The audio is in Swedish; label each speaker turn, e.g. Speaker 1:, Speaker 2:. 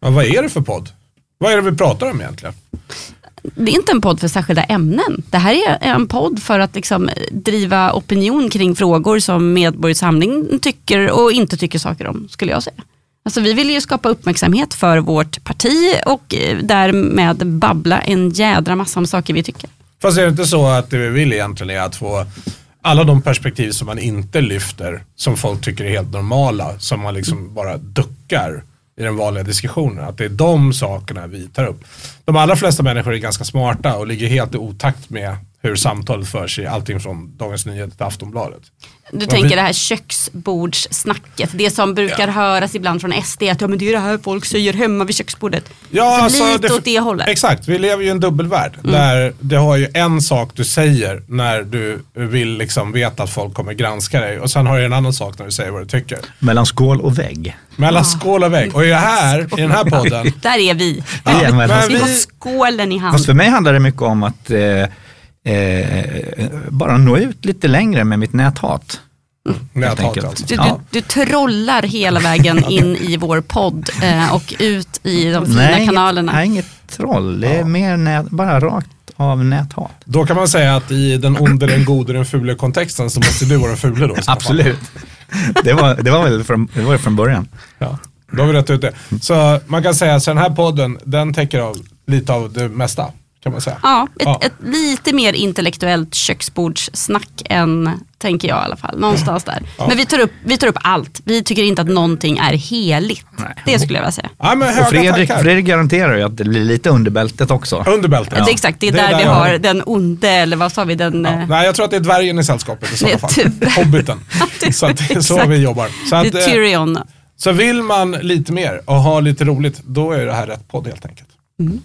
Speaker 1: Ja, vad är det för podd? Vad är det vi pratar om egentligen?
Speaker 2: Det är inte en podd för särskilda ämnen. Det här är en podd för att liksom driva opinion kring frågor som Medborgarsamling tycker och inte tycker saker om, skulle jag säga. Alltså, vi vill ju skapa uppmärksamhet för vårt parti och eh, därmed babbla en jädra massa om saker vi tycker.
Speaker 1: Fast är det inte så att det vi vill egentligen är att få alla de perspektiv som man inte lyfter, som folk tycker är helt normala, som man liksom bara duckar i den vanliga diskussionen. Att det är de sakerna vi tar upp. De allra flesta människor är ganska smarta och ligger helt i otakt med hur samtalet förs i allting från Dagens Nyheter till Aftonbladet.
Speaker 2: Du
Speaker 1: Ja,
Speaker 2: tänker
Speaker 1: vi-
Speaker 2: det här köksbordssnacket, det som brukar höras ibland från SD, att ja, men det är det här folk säger hemma vid köksbordet.
Speaker 1: Ja,
Speaker 2: alltså,
Speaker 1: alltså,
Speaker 2: lite åt det hållet. Mm.
Speaker 1: Exakt, vi lever ju i en dubbelvärld. Där det har ju en sak du säger när du vill liksom veta att folk kommer granska dig. Och sen har du en annan sak när du säger vad du tycker.
Speaker 3: Mellan skål och vägg.
Speaker 2: Ah.
Speaker 1: Mellan skål och vägg. Och i, det här, i den här podden,
Speaker 2: Där är vi.
Speaker 3: Det är en mellan-
Speaker 1: Men
Speaker 2: Vi
Speaker 1: vi-
Speaker 2: har skålen i hand.
Speaker 3: Fast för mig handlar det mycket om att eh, eh, bara nå ut lite längre med mitt näthat.
Speaker 1: när jag
Speaker 3: Helt
Speaker 1: tar
Speaker 3: enkelt.
Speaker 1: alltså.
Speaker 2: Du,
Speaker 3: Ja.
Speaker 2: du, du trollar hela vägen in i vår podd eh, och ut i de fina kanalerna.
Speaker 3: Inget, nej, inget troll. Det är
Speaker 1: Ja.
Speaker 3: mer nät, bara rakt av näthat.
Speaker 1: Då kan man säga att i den onde, den gode, den fule kontexten så måste du vara den fule då. i så fall.
Speaker 3: Absolut. det, var, det var väl från, det var ju från början.
Speaker 1: Ja, då har vi rätt ut det. Så man kan säga att den här podden, den täcker av lite av det mesta. Kan man säga.
Speaker 2: Ja, ett,
Speaker 1: Ja.
Speaker 2: ett lite mer intellektuellt köksbordssnack än, tänker jag i alla fall, någonstans där. Men vi tar, upp, vi tar upp allt. Vi tycker inte att någonting är heligt. Det skulle jag vilja säga.
Speaker 1: Ja, men höga
Speaker 3: Och Fredrik,
Speaker 1: tackar.
Speaker 3: Fredrik garanterar ju att det blir lite under bältet också.
Speaker 1: Under bältet.
Speaker 2: Det är exakt, det är,
Speaker 1: Det är
Speaker 2: där,
Speaker 1: där
Speaker 2: vi
Speaker 1: jag
Speaker 2: har
Speaker 1: har-
Speaker 2: den onde, eller vad sa vi, den...
Speaker 1: Ja.
Speaker 2: eh,
Speaker 1: Nej, jag tror att det är dvärgen i sällskapet i
Speaker 2: Det är
Speaker 1: sådana fall.
Speaker 2: tyvärr-
Speaker 1: Hobbiten.
Speaker 2: det är
Speaker 1: Så att det är så
Speaker 2: exakt.
Speaker 1: vi jobbar. Så,
Speaker 2: Det
Speaker 1: att,
Speaker 2: är
Speaker 1: eh,
Speaker 2: Tyrion.
Speaker 1: så vill man lite mer och ha lite roligt, då är det här rätt podd helt enkelt.